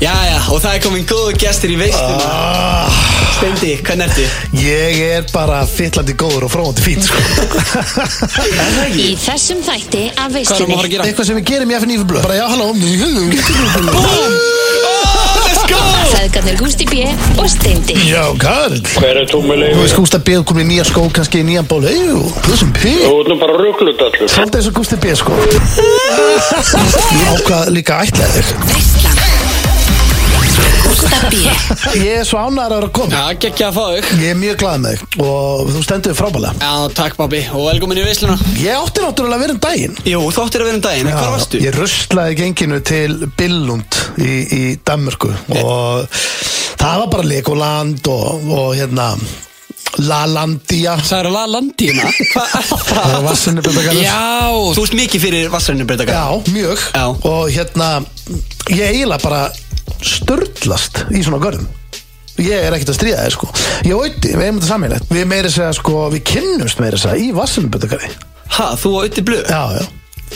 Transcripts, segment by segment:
Jæja, og það er komin góðu gestur í veistum Ah. Steindi, hvernig ertu? Ég er bara fyllandi góður og fróðandi fín sko. Í þessum þætti af veislunni að gera? Eitthvað sem við gerum í FNF blöð Bara já, halló um, Búm! Feðgarnir Gústi B. og Steindi Já, Karl Hver er Þú tómulegu? veist Gústa B. komin í nýja skó, kannski í nýjan ból Eyjú, þú sem P Þú ert nú bara rugglut allur. Svolítið eins og Gústa B. sko Ég ákvað líka ætlaði þig Veislan Gústa B. Ég er svo ánæður að vera að koma Já, geggja að fá þig Ég er mjög glad með þig og þú stendur þig frábælega Já, takk pabbi, og velkomin í veisluna Ég átti náttúrulega að vera um daginn Jú, þóttir að vera um daginn, en hvar varstu? Ég ruslaði genginu til Billund í, í Danmörku og það var bara Legoland og, og hérna Lalandia Það eru að laða landína Hvað er Það það? var sinni byrja Já, þú veist mikið fyrir vassarinu breytaka Já, mjög Já. Og hérna, ég eiginlega bara störtlast í svona görðum Ég er ekkert að stríða þér sko Ég og Ötti, við erum þetta sammeilegt Við meiri segja sko, við kynnumst meiri segja í vassanuböndakari Ha, þú á auðvitað blöð? Já, já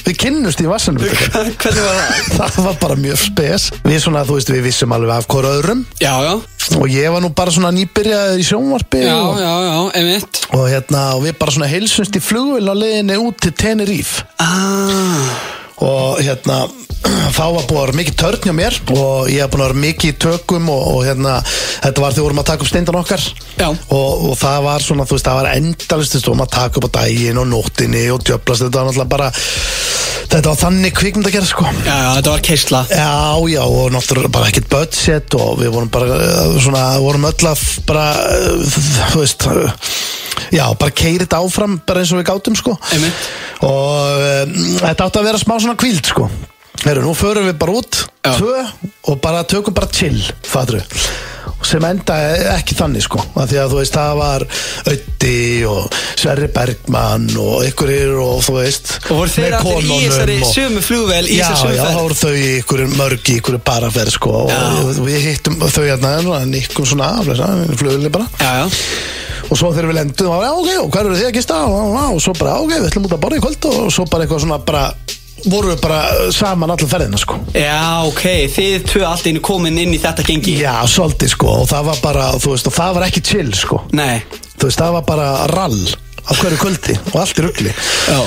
Við kynnumst í vassanuböndakari Hvernig var það? Það var bara mjög spes Við svona, þú veist, við vissum alveg af hvora öðrum Já, já, Og ég var nú bara svona nýbyrjaður í sjónvarpi já, og, já, já, emitt og hérna, og við bara svona heilsumst í flugvél á leiðinni út til Tenerife Ah, og hérna þá var búið að vera mikið törn hjá mér og ég hef búin að vera mikið í tökum og, og hérna, þetta var þegar við vorum að taka upp steindan okkar Já. og, og það var svona, þú veist, það var endalist við stóðum að taka upp á daginn og nóttinni og djöplast, þetta var náttúrulega bara þetta var þannig kvikmynd að gera sko já, já, þetta var keisla Já, já, og náttúrulega bara ekkert budget og við vorum bara eh, svona, vorum öll að f- bara, eh, þú veist, eh, já, bara keiri þetta áfram bara eins og við gátum, sko. Einmitt. Og um, þetta átti að vera smá svona kvíld, sko. Heru, nú förum við bara út, Já. tvö, og bara tökum bara chill, fatru. Sem endaði ekki þannig, sko. Af því að þú veist, það var Ötti og Sverri Bergmann og ykkurir og þú veist, Og voru þeir með allir í konunum þessari og- sömu flugvel í Já, þessari já, þá sömu voru þau í ykkur mörg í ykkur paraferð sko og Já. við hittum þau hérna en nikkum svona af þess flugli bara Já, já, og svo þegar við lendum þá var já, ok, og hvað eru þið að gista og, og, og svo bara ok, við ætlum út að borða í kvöld og svo bara eitthvað svona bara voru við bara saman allar ferðina sko já, ok, þið tvö allt einu komin inn í þetta gengi Já, svolítið sko og það var bara, þú veist, og það var ekki chill sko Nei, þú veist, það var bara rall á hverju kvöldi og allt í ruggli Já.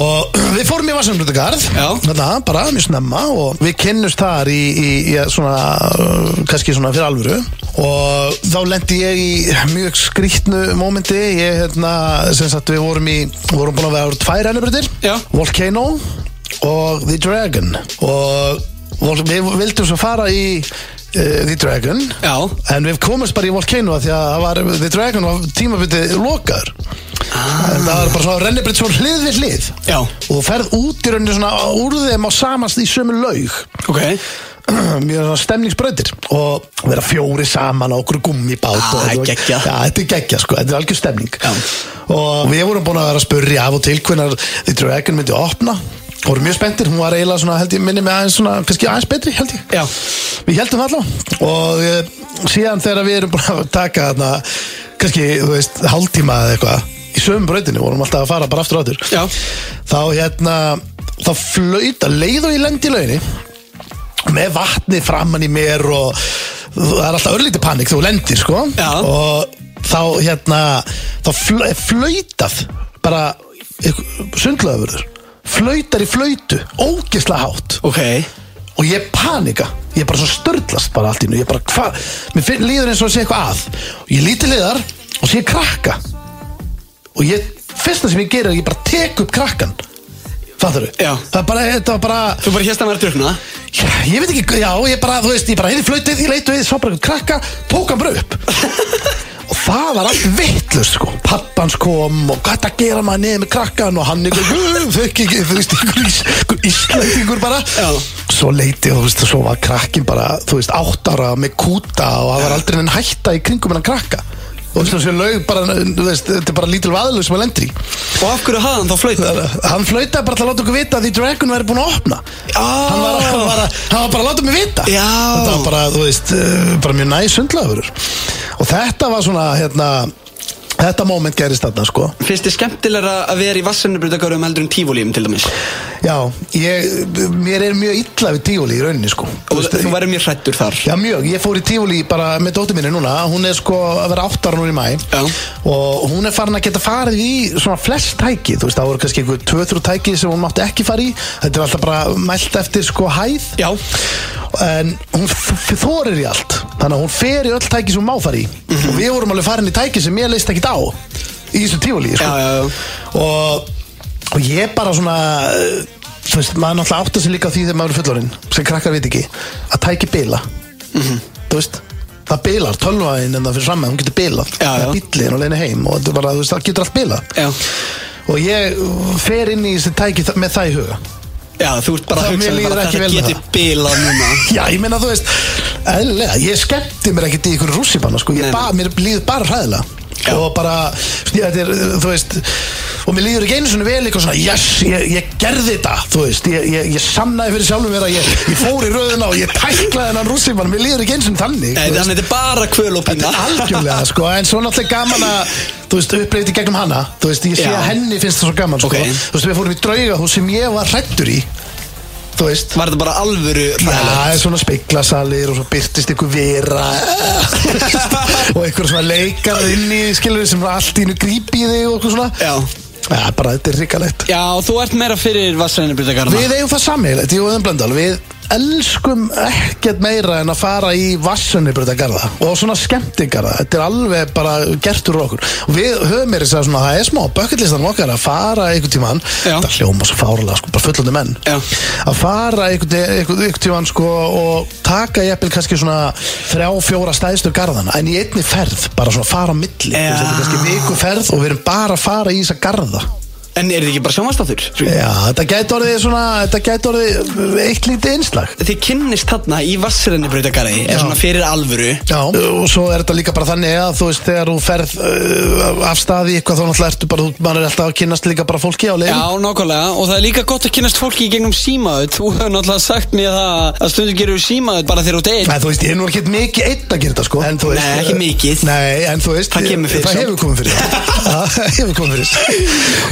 og við fórum í Vassumbrutagarð Já. þarna, bara mjög snemma og við kynnust þar í, í, í svona, uh, kannski svona fyrir alvöru og þá lendi ég í mjög skrýtnu mómenti ég, hérna, sem sagt, við vorum í vorum búin að vera á tvær ennibrutir Já. Volcano og The Dragon og vol- við vildum svo fara í uh, The Dragon já, En við komumst bara í Volcano af því að það var, The Dragon var tímabitið lokaður En það var bara svona rennibritt svo hlið við hlið Já. Og þú ferð út í rauninni svona úr þeim á samast í sömu laug ok Mjög svona stemningsbrautir Og vera fjóri saman á okkur Ah, gummibát og þetta var- geggjað. Já, þetta er geggja sko, þetta er algjör stemning Já. Og við vorum búin að vera að spurja af og til hvernar The Dragon myndi opna Og vorum mjög spenntir, hún var eiginlega svona, held ég, minni með aðeins svona, kannski aðeins betri, held ég Já, Við heldum það allavega og eh, síðan þegar við erum búin að taka þarna, kannski, þú veist, hálftíma eða eitthvað, í sömu brautinu vorum alltaf að fara bara aftur áttur Já. þá hérna, þá flauta leið og ég lend í lauginni með vatni framann í mér og það er alltaf örlítið panik þegar þú lendir sko Já. og þá hérna þá fl flautað bara sundlaðurur flautar í flautu, ógisla hátt ok og ég panika ég bara svo störtlast bara allt í nú ég bara hvað, mér finn, líður eins og sé eitthvað að og ég líti liðar og sé krakka og ég, fyrsta sem ég gerir er að ég bara tek upp krakkan fattur þau? Já. það er bara, þetta var bara Þú bara hérst að vera að drukna Já, ég veit ekki, já, ég bara, þú veist, ég bara heyrði flautið, ég leitu við, svo bara einhvern krakka, tók hann bara upp. og það var allt vittlust, sko. Pappans kom og hvað er að gera maður niður með krakkan og hann ykkur, þau ekki, þú veist, ykkur, ís- ykkur íslendingur bara. Já. Svo leiti, og þú veist, svo var krakkin bara, þú veist, átt ára með kúta og það var aldrei enn hætta í kringum en hann krakka. Og þessu lög bara, þú veist, þetta er bara lítil vaðlug sem að lendir í. Og af hverju hafði hann þá flöytið? Hann flautaði bara til að láta okkur vita að því Dragon væri búin að opna Ah. hann, var, hann, var, að- hann var bara að láta mig vita Já. Þetta var bara, þú veist, eh, bara mjög næs sundlaður Og þetta var svona, hérna Þetta moment gerist þarna sko Finnst þið skemmtilega að vera í vassanubrytagörðum heldur en tífólíum til dæmis? Já, ég, mér er mjög illa við tífúli í rauninni sko Og þú verður mjög hrættur þar Já, mjög. Ég fór í tífúli bara með dóttu minni núna. Hún er sko að vera áttar núna í mæ. Já. Og hún er farin að geta farið í svona flest tæki. Þú veist, það voru kannski einhver tvö-þrjú tæki sem hún mátti ekki fara í. Þetta er alltaf bara mælt eftir sko hæð. Já, En hún þorir í allt. Þannig að hún fer í öll tæki sem hún má fara í. Mhm. Og við vorum alveg farin í tæki sem ég leist ekkit á. Í þessu tífúli, sko já, já, já. og, og ég bara svona eh, þú veist, maður náttúrulega átta sig líka á því þegar maður er fullorinn, sem krakkar veit ekki að tæki bila Mhm. þú veist, það bilar, tölvaðin en það fyrir fram að hún getur bilað Já, já. bíllinn og leina heim og þetta er bara, þú veist, það getur allt bilað Já, og ég fer inn í þessi tæki þa- með það í huga já þú ert bara Það- að mér hugsa þér líður bara ekki þetta vel með geti bilað núna Já, ég meina, þú veist, eðlilega, ég skemmti mér ekkert í ykkur rússipanna, sko, ég Nei, ba, mér líður bara hræðilega Já. og bara, þetta er, þú veist, og mér líður ekki einu svona vel eitthvað svona, yes, ég, ég gerði þetta, þú veist, ég, ég, ég sannaði fyrir sjálfum mér að ég, ég fór í röðina og ég tæklaði hennan rússipanna, mér líður ekki einu svona Nei, þannig, þú veist, Þannig þetta er bara kvöl og pína algjörlega, sko, en svo náttúrulega gaman að, þú veist, upplýti gegnum hana, þú veist, ég sé Já. að henni finnst það svo gaman, sko, Ok. þú veist, við fórum í draugahús sem ég var hrættur í, þú veist, Var þetta bara alvöru Já, hræðilegt? það er svona speiklasalir og svo byrtist ykkur vera og ykkur svona leikar inn í skilur sem allt í hennu grípi í þig og okkur svona Já. Já, bara þetta er ríkalegt Já, þú ert meira fyrir vassanubrytagarna Við eigum það sammeilegt, ég og þeim blöndal Við elskum ekkert meira en að fara í vassunnibröta garða og svona skemmtingarða, þetta er alveg bara gert úr okkur og við höfum meira þess að svona, það er smá bökkillistan okkar að fara einhvern tímann, Já. þetta hljóma svo fárlega sko, bara fullandi menn Já. að fara einhvern, einhvern, einhvern tímann sko og taka jafnvel kannski svona þrjá, fjóra stæðstu garðana en í einni ferð, bara svona fara á milli Já. þetta er kannski viku ferð og við erum bara að fara í þessa garða En er þetta ekki bara sjónvastáttur? Já, þetta gæti orðið svona, þetta gæti orðið eh, eitt lítið einslag. Þið kynnist þarna í vassanubrytagarði Já. Er svona fyrir alvöru Já. Eh, Og svo er þetta líka bara þannig að þú veist, þegar þú ferð uh, af staði í eitthvað þá náttúrulega ertu bara, þú- maður er alltaf að kynnast líka bara fólki á leiðin. Já, nákvæmlega, og það er líka gott að kynast fólki í gegnum símaðu Þú hefur náttúrulega sagt mér það að stundum gerir við símaðu bara þegar þú deyr En þú veist, ég er nú ekkert mikið eitt að gera þetta sko en, þú veist, Nei, ekki mikið. Nei, en þú veist Það kemur fyrir Það samt. hefur komið fyrir Það hefur komið fyrir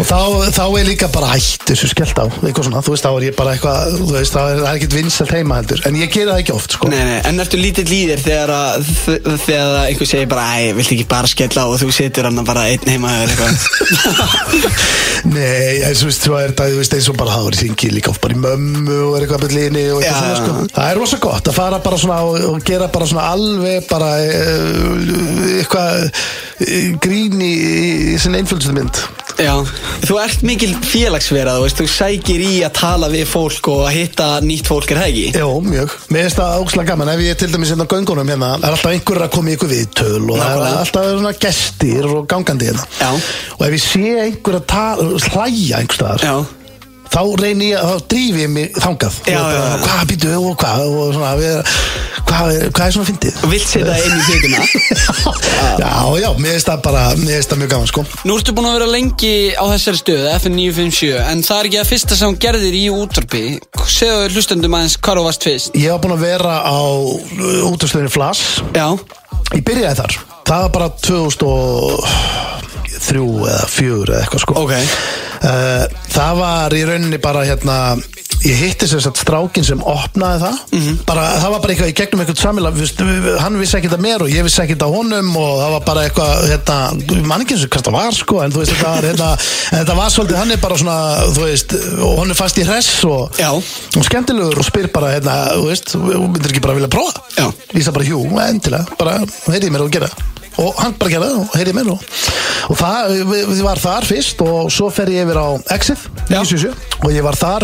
Og þá, þá er líka bara hætt þessu skellt á Eitthvað svona, þú veist, þá er ég bara eitthvað Þú veist, það er, það er ekkert vinsalt heima heldur En ég gera það ekki oft sko Nei, nei, en ertu lítill í þér þegar að þ- þegar að einhver segir bara Æ, viltu ekki bara skella á og þú situr hann bara einn heima eða eitthvað Nei, eins og veist, svo er þetta, þú veist, eins og bara hafur hringi líka oft bara í mömmu og er eitthvað byrlinni og eitthvað Já, svona, sko. Það er rosa gott að fara bara svona og, og gera bara svona alveg bara eh, eitthvað eh, grín í, í sinni einfjöldsum mynd. Já, þú ert mikil félagsverað, þú veist, þú sækir í að tala við fólk og að hitta nýtt fólk er það ekki? Jó, mjög. Mér finnst það ógslag gaman ef ég til dæmis hérna á göngunum hérna, það er alltaf einhverjur að koma í ykkur viðtöl og það er Nákvæmlega. alltaf svona gestir og gangandi hérna. Já. Og ef ég sé einhver að tala, hlæja einhver staðar, Já, þá reynir ég, þá drífi ég mig þangað Já, já, og bara, já. hvað býtu og hvað og svona, við, hvað, er, hvað er svona fyndið vilt setja það inn í setuna já, já, mér finnst það bara mér finnst það mjög gaman sko Nú ertu búin að vera lengi á þessari stöðu, FN 957 en það er ekki að fyrsta sem hún gerðir í útvarpi segðu hlustendum aðeins hvar þú varst fyrst ég var búin að vera á útastöðinni Flass Já, ég byrjaði þar það var bara 2003 eða 4 eða eitthvað sko Ok. Eh, það var í rauninni bara hérna ég hitti sem sagt strákin sem opnaði það Mhm. bara, það var bara eitthvað í gegnum eitthvað samila, viðst, hann vissi ekkert að mér og ég vissi ekkert að honum og það var bara eitthvað hérna, mannkins hvað það var sko en þú veist þetta var, hérna, en þetta var svolítið hann er bara svona þú veist, og hann er fast í hress og, Já. og skemmtilegur og spyr bara hérna, þú veist, þú myndir ekki bara vilja prófa Já. Lísa bara, jú, endilega, bara heyrði í mér og gera það. og hann bara gera það og heyrði í mér og, og það, við, við var þar fyrst og svo fer ég yfir á Exit Já. 97, og ég var þar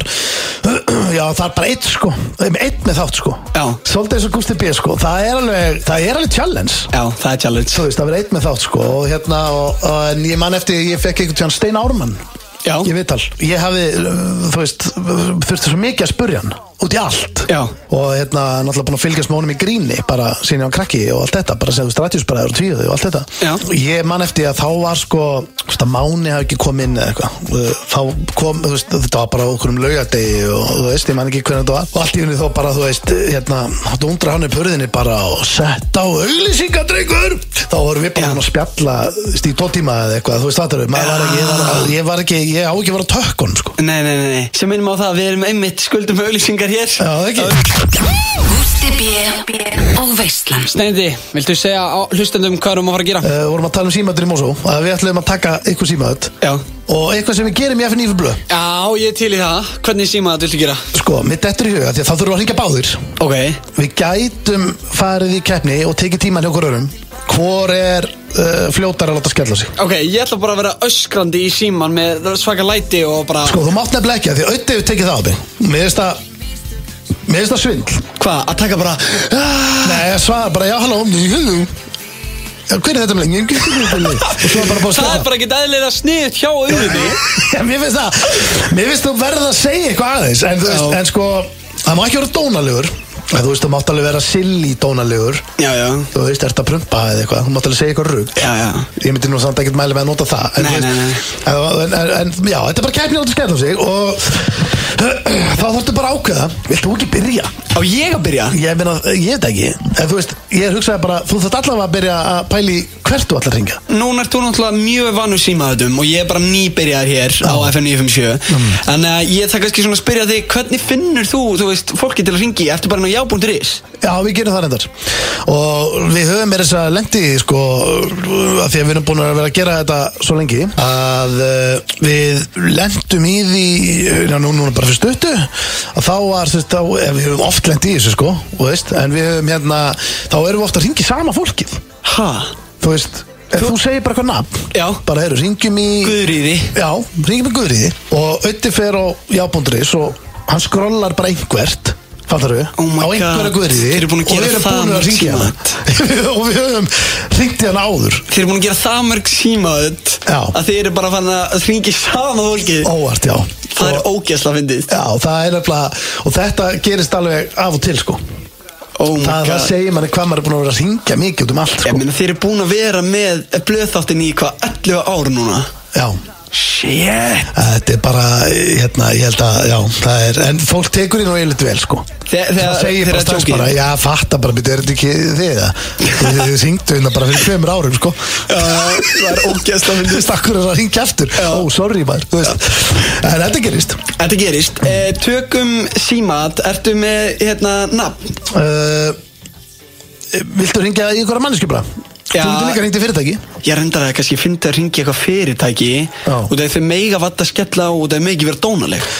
já, þar bara eitt sko eitt með þátt sko, Já. svolítið eins og Gusti B sko, það er alveg, það er alveg challenge já, það er challenge þú veist, að vera eitt með þátt sko og hérna, og, og, en ég man eftir ég fekk einhvern tján Stein Ármann Já, ég viðtal, ég hafði, uh, þú veist uh, þurfti svo mikið að spurja hann út í allt Já. og hérna náttúrulega búin að fylgjast með honum í gríni bara síðan ég var krakki og allt þetta bara segðu strætjusbræður og tvíðu og allt þetta Já. og ég man eftir að þá var sko hvort að máni hafi ekki komið inn eða eitthvað Uh, þá kom, þú veist, þetta var bara okkur um laugadegi og þú veist, ég man ekki hvernig þetta var og allt í henni þó bara, þú veist, hérna þá dundra hann upp hurðinni bara og sett á auglýsingadrengur þá vorum við bara Já. búin að spjalla þú veist, í tvo tíma eða eitthvað, þú veist, það eru maður var ekki, ég var, ég var ekki, ég á ekki að vera tökkun sko. Nei, nei, nei, nei, sem minnum á það að við erum einmitt skuldum auðlýsingar hér Já, það ekki Gústi B og Veislan Steindi, viltu segja á hlustendum hvað erum að fara að gera? uh, vorum að tala um símaður í Mosó að við ætlum að taka eitthvað símaður Já og eitthvað sem við gerum í FNF Blöð Já, ég er til í það, hvernig síma þetta viltu gera? sko, mitt eftir í huga, því að þá þurfum við að hringja báðir Ok við gætum farið í keppni og tekið tíman hjá okkur örum hvor er uh, fljótar að láta skella sig Ok, ég ætla bara að vera öskrandi í síman með svaka læti og bara sko, þú mátt nefnilega ekki að því auðvitað við tekið það á því mér finnst það mér finnst það svindl Hvað, að taka bara nei, ég svara bara, já, halló já, hver er þetta með lengi og svo er bara búið Það er að skella bara ekki dæðilega sniðt hjá auðinni Já, mér finnst það Mér finnst þú verð að segja eitthvað aðeins En, þú veist, Já. en sko, það má ekki vera dónalegur En Þú veist, þú mátt alveg vera silly dónalegur Já, já, Þú veist, ert að prumpa eða eitthvað Þú mátt alveg segja eitthvað rugg já, já Ég myndi nú samt ekkert mæli með að nota það En, Nei, þú nei, en, en, en já, þetta er bara kæfni átt að skella sig Og þá þarftu bara að ákveða Vilt þú ekki byrja? Á ég að byrja? Ég meina, ég veit ekki En þú veist, ég hugsaði bara Þú þarft allavega að byrja að pæli hvert þú allar ringa Núna ert þú náttúrulega mjög vannu símaðutum og ég er bara nýbyrjar hér á FM 957 Mm. Þannig að eh, ég það kannski svona að spyrja þig hvernig finnur þú, þú veist, fólki til að ringi eftir bara ná já.is Já, við gerum það reyndar og við höfum er þess að lendi sko, að því að við erum búin að vera að gera þetta svo lengi að uh, við lendum í því já, nú, núna bara fyrir stuttu að þá var, þú veist, þá, eh, við höfum oft lendi í þessu sko, þú veist, en við höfum hérna þá erum við ofta að ringi sama fólkið Ha? þú veist, ef þú, segir bara eitthvað nafn Já. bara eru, ringjum í Guðriði Já, ringjum í Guðriði og Ötti fer á já.is og hann skrollar bara einhvert fattar við, Oh my á einhverja God, Guðriði þeir eru búin að gera það og við erum búin að mörg ringja hann og við höfum ringt í hann áður Þið eru búin að gera það mörg símaðut Já. að þið eru bara fann að ringi sama fólki óvart, já Það er og, ógæsla fyndið Já, það er nefnilega, og þetta gerist alveg af og til sko Oh my það, það god segir manni hvað maður er búin að vera að ringja mikið út um allt Ég sko meina þeir eru búin að vera með blöðþáttin í hvað 11 ár núna Já, Shit Þetta er bara, hérna, ég held að, já, það er, en fólk tekur því nú eilert vel, sko. Þe- þegar- það segir þegar bara strax tjókið. bara, já, fatta bara, betur þetta ekki þið það? Þið þið syngdu hérna bara fyrir tveimur árum, sko. Já, það er ógæsla Þú fyndið veist, akkur er að ringja aftur. Já. Ó, sorry, maður, þú veist. En þetta gerist. Þetta gerist eh, Tökum símat, ertu með hérna nafn? Uh, viltu ringja í ykkur að mannesku bara? Já. Þú getur líka ringt í fyrirtæki. Ég reyndar að kannski fyndi að ringi eitthvað fyrirtæki Já. og það er þau mega vatt að skella á og það er megi verið dónaleg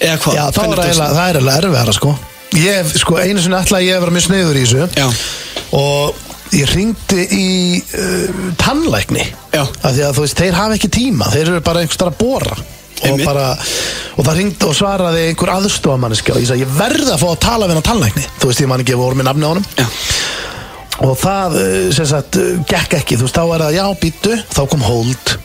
Eða hvað? Já, þá Hvernig er þú- eiginlega, það er eiginlega erfiðara sko Ég, hef, sko, einu sinni ætlaði ég að vera mjög sneiður í þessu Já. Og ég ringdi í uh, tannlækni Já. Af því að þú veist, þeir hafa ekki tíma Þeir eru bara einhvers staðar að bora og, Einmitt. bara, og það ringdi og svaraði einhver aðstofamanniski og ég sagði, ég verði að fá að tala við hann tannlækni Þú veist, ég man ekki að voru með nafni á honum Já. og það eh, sem sagt eh, gekk ekki, þú veist, þá er það já, býttu þá kom hold,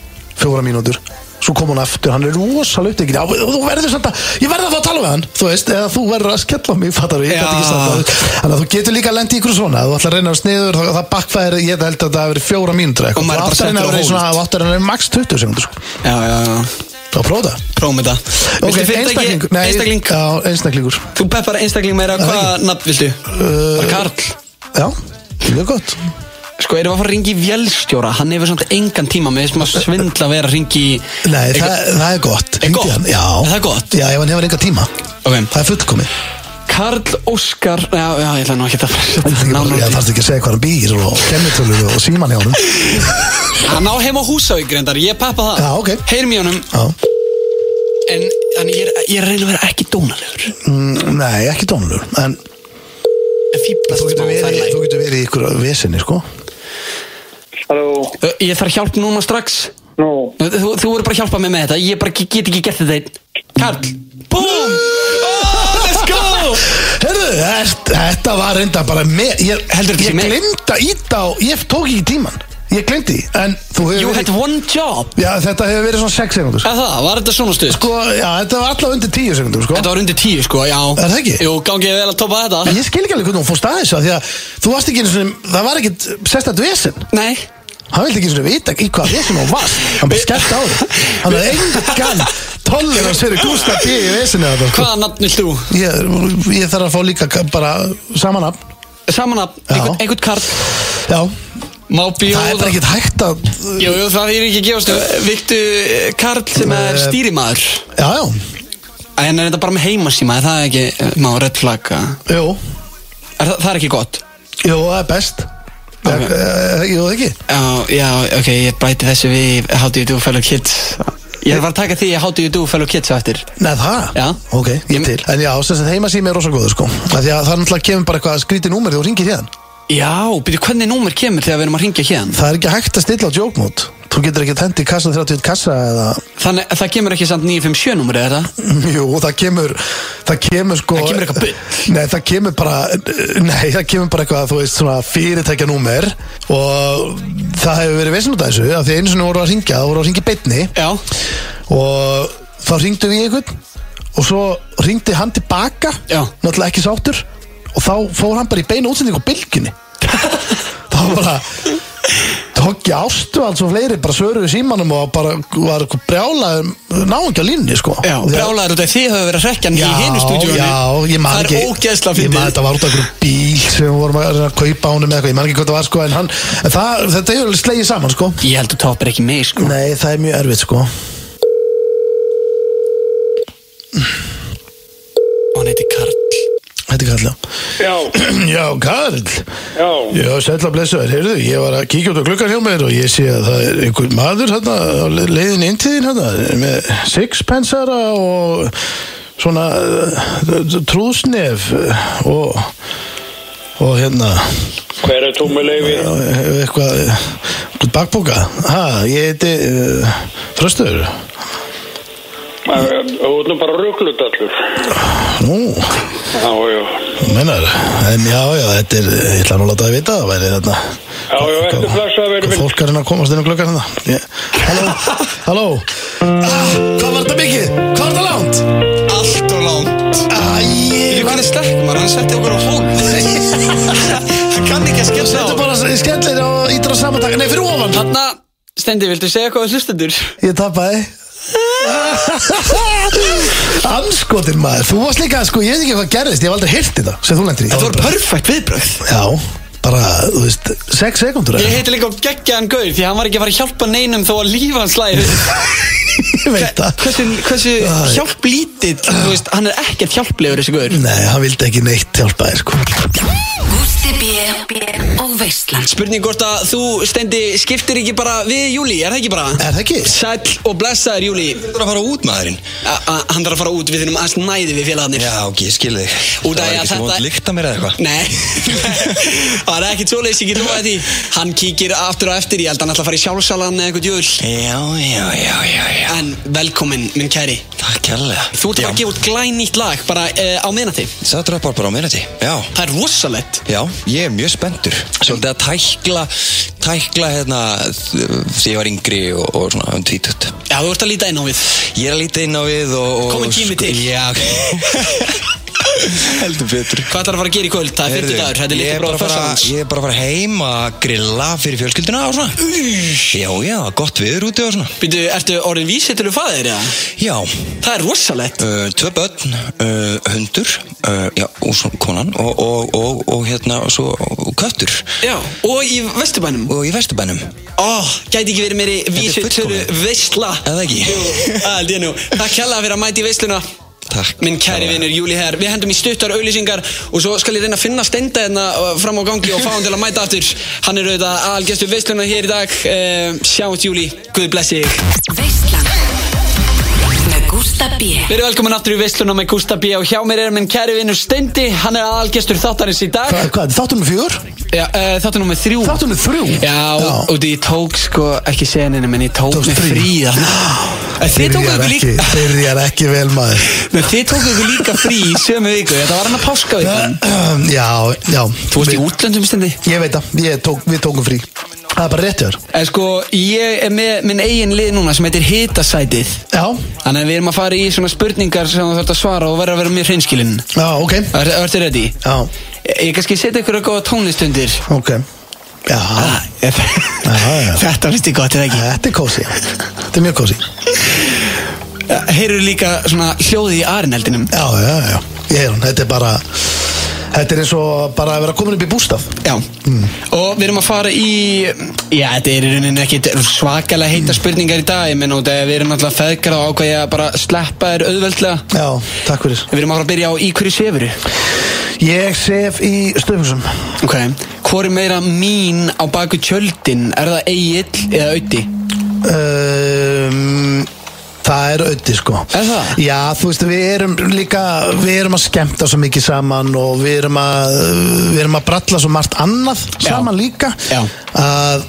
fjóra mínútur svo kom hún aftur, hann er rosalega upptekinn já, þú verður samt að, ég verður að fá að tala við hann þú veist, eða þú verður að skella á mig fattar við, ég gæti ekki Já. samt að þannig að þú getur líka að lendi ykkur svona, ef þú ætlar að reyna að sniður það, það bakfæri, ég held að það hafi verið fjóra mínútur Og eitthvað, maður er þú bara settur á hold. átt að reyna að vera í svona þú átt að reyna að vera í max 20 sekundur sko. Já, já, já þá prófa það Prófum þetta Ok, Viltu fyrirtæki- einstaklingur Nei, einstakling Já, einstaklingur Þú peppar einstakling meira, hvaða nafn Eh, viltu? Bara Karl Já, mjög gott Sko, erum við að fara að ringi í vélstjóra? Hann hefur samt engan tíma með þessum að svindla að vera að ringi í... Nei, Eitthvað- það, það er gott Er Hringdu gott? í hann, Já Er það gott? Já, ef hann hefur enga tíma Ok. Það er fullkomið Karl Óskar... Já, já, ég ætla nú ekki að fara... Ná, Ég ná, þarfst ekki að segja hvað hann býr og kennitölur og síman hjá hann hann á heima á Húsavík, reyndar. Ég peppa það. Já, ok. Heyrum í honum, Já, en þannig ég er, ég er að reyna að vera ekki dónalegur. Mm, nei, ekki dónulur En En fýblast þú smá, getur það er verið, læg. þú getur verið í ykkur vesinni, sko Halló, Ö, Ég þarf hjálp núna strax. nú, Þú, þú þú verður bara að hjálpa mig með þetta. Ég bara get get ekki gert þetta einn. Karl! Búm! Oh, let's go! Herðu, þess- þetta var reynda bara með Ég, Heldur þetta sé ég með? glimta ít á Ég tók ekki tíman Ég glemdi, en þú You hefur had one job Já, þetta hefur verið svona 6 sekundur Eða það, var þetta svona stuð? Sko, já, þetta var alltaf undir 10 sekundur, sko Þetta var undir tíu sko, já Er það ekki? Jú, gangið vel að topa þetta Ég skil ekki alveg hvernig hún fórst að þessu af Því að þú varst ekki einu svona Það var ekkit sérstætt vesen Nei Hann vildi ekki svona vita í hvað vesen hún varst Hann bara skellt á það Hann hafði engan tolerans fyrir Gústa B í vesinu þetta sko. Hvaða nafn vilt þú? ég, ég þarf að fá líka ka- bara saman af Saman nafn, Já. einhvern, einhvern kart Já, Má bjóða það er bara ekkit hægt að Jú, jú, það er ekki að gefast upp. Viltu eh, Karl sem er Eh, stýrimaður Já, já, En er þetta bara með heimasíma, er það ekki eh, Má, redd flagga jú, er, það, það er ekki gott jú, það er best okay. Ok. Jú, það ekki Já, já, ok, ég bæti þessu við How do you do fellow kids Ég var að taka því að How do you do fellow kids á eftir Nei, það? Já. Ok, ég Ég- til En já, sem sagt heimasími er rosa góður sko Af Því að það er náttúrulega kemur bara eitthvað skrítið númer þegar þú ringir hérna Já, byrju, hvernig númer kemur þegar við erum að ringja hérna? Það er ekki hægt að stilla á djókmót Þú getur ekki hendi í kassa 31 kassa eða, Þannig, að það kemur ekki samt 957 númer, er það? jú, það kemur það kemur sko Það kemur eitthvað bull. Nei, það kemur bara Nei, það kemur bara eitthvað, þú veist, svona fyrirtækja númer og það hefur verið vesen út af þessu, af því einu sinni voru að ringja það voru að ringja í beinni Já, og þá ringdu við í einhvern og svo ringdi hann tilbaka Já. náttúrulega ekki sáttur og þá fór hann bara í beina útsending á bylginni þá var bara tók ég ástu alls og fleiri bara svöruðu símanum og bara var brjálaður náðungja línni sko já, Og þegar- brálaður út af því hafa verið að rekja hann í Já, hinu stúdíónu já, ég man Það ekki er ógeðsla Ég man fyndið þetta var út af einhverjum bíl sem við vorum að, reyna að kaupa honum eða eitthvað Ég man ekki hvað það var sko En, hann, en það, þetta hefur alveg slegið saman sko Ég held að topar ekki mig, sko Nei, það er mjög erfitt sko Og hann heiti Karl Þetta er kallið Já, Já, Karl já, Já, sætla blessaður, heyrðu, ég var að kíkja út á klukkan hjá mér og ég sé að það er einhver maður hérna á le- leiðinni inn til þín hérna með sixpensara og svona eh, trúðsnef eh, og, og hérna hver er tómuleifi? eh, eitthvað, eh, eitthvað bakbóka. Ha, ég heiti uh, Þröstur. Þú ert nú bara rugglut allur. Nú, Já, já, þú meinar, en já, já, þetta er, ég ætla nú að láta það vita að það væri þarna. já, já, ertu flessa að vera minn? Fólk er hérna að komast inn á glöggar hérna Ég- Halló, halló ah, Hvað var þetta mikið? Hvað var þetta langt? Allt og langt Æj, Ég hvernig slekk maður, hann setti okkur á hólf Hann kann ekki að skemsa þetta er á bara skellir og ítir á samantak Nei, fyrir ofan Hanna, Stendi, viltu segja eitthvað við hlustendur? Ég tapaði Anskotin maður, þú varst líka, sko, ég veit ekki hvað gerðist Ég hef aldrei heyrt þetta sem þú lendir í Þetta voru perfekt viðbröð Já, bara, þú veist, 6 sekundur Ég heiti líka geggjaðan gaur því að hann var ekki að fara að hjálpa neinum þó að lífa hans læri ég veit það Hversu, hversu Æ. hjálplítill, þú veist, hann er ekkert hjálplegur þessi gaur Nei, hann vildi ekki neitt hjálpa þér, sko Gústi B. og Veistland Spurning hvort að þú, Stendi, skiptir ekki bara við Júli, er það ekki bara? Er það ekki? Sæll og blessaður Júli Það er að fara út maðurinn A- a- Hann þarf að fara út, við þurfum aðeins næði við félagarnir Já, ok, ég skil þig Út Það af því að var ekki sem þetta- vond líkt að mér eða eitthvað Nei, það er ekkert svoleiðis, ég get lofaði því Hann kíkir aftur og eftir, ég held að hann ætla að fara í sjálfsalan eða eitthvað djöl Já, já, já, já, já En velkomin, minn kæri Takk kærlega Þú ert bara að gefa út glænýtt lag, bara uh, á minnati Sætt rappar bara á minnuti Já, Það er rosalegt já, ég er mjög spenntur Svolítið að tækla, tækla hérna Því ég var yngri og, og svona um tvítut Já, þú ert að líta inn á við Ég er að líta inn á við og, og Kominn tími sko- til. Já, heldur betur Hvað ætlar að fara að gera í kvöld? Það er 50 Heyrðu, dagur, þetta er ég litið bróður bara að fara- fyrstans Ég er bara að fara heim að grilla fyrir fjölskylduna og svona Já, já, gott viður úti og svona Býtu, ertu orðin vísitölu fæðir eða? Já, Það er rosalegt Uh, tvö börn, uh, hundur uh, já, og svo konan og, og, og, og hérna og svo köttur Já, og í Vesturbænum og í vesturbænum Ó, gæti ekki verið meiri vísitölu fullkomið. veistla Eða ekki? Það er nú Takk kjalla fyrir að mæti í veisluna Takk Minn kæri vinnur Júli Herr Við hendum í stuttar auðlýsingar Og svo skal ég reyna að finna stenda hérna uh, fram á gangi Og fá hann til að mæta aftur Hann er auðvitað algjastu veisluna hér í dag uh, Sjáumst Júli, Guð blessi þig Veistland Með Gústa B. Við erum velkomin aftur í veisluna með Gústa B. Og hjá mér er minn kæri vinnur Stendi Hann er algjastu þáttarins í dag Hvað, hvað, þáttunum fjögur? Já, uh, Þáttur nummer þrjú Þáttunum þrjú? Já, og því ég tók sko, ekki seninu, menn ég tók Tókst mig frí. frí þarna. En Þið tókuðu ykkur Byrjar ekki, líka byrjar ekki vel maður Nei, Þið tókuðu ykkur líka frí í sömu viku Þetta var hann að páska viku Já, já Þú varst í útlöndum stendi Ég veit það, ég tók, við tókum frí það er bara rétt hjá þér En sko, ég er með minn eigin lið núna sem heitir hitasætið Já, Þannig að við erum að fara í svona spurningar sem þú þarf að svara og verða að vera mjög hreinskilinn já, ok Það ertu ready? Já, Ég, ég kannski setja ykkur að góða tónlistundir ok Já, Ah, já. Þetta finnst ég gott, er það ekki? þetta er kósi Þetta er mjög kósi Já, Heyrðu líka svona hljóði í arinheldinum já, já, ég heyr hún, þetta er bara Þetta er eins og bara að vera komin upp í bústaf Já, og við erum að fara í Já, þetta er í rauninni ekki svakalega heita spurningar í dag menn út að við erum alltaf feðgar og ákvæði að bara sleppa þér auðveldlega Já, takk fyrir Við erum að fara að byrja á í hverju sefuru Ég sef í stöfusum Ok, hvor er meira mín á baku tjöldin? Er það eigill eða auði? um, Það er öddi sko Er það? Já, þú veist, við erum líka Við erum að skemmta svo mikið saman Og við erum að Við erum að bralla svo margt annað saman líka Já. Að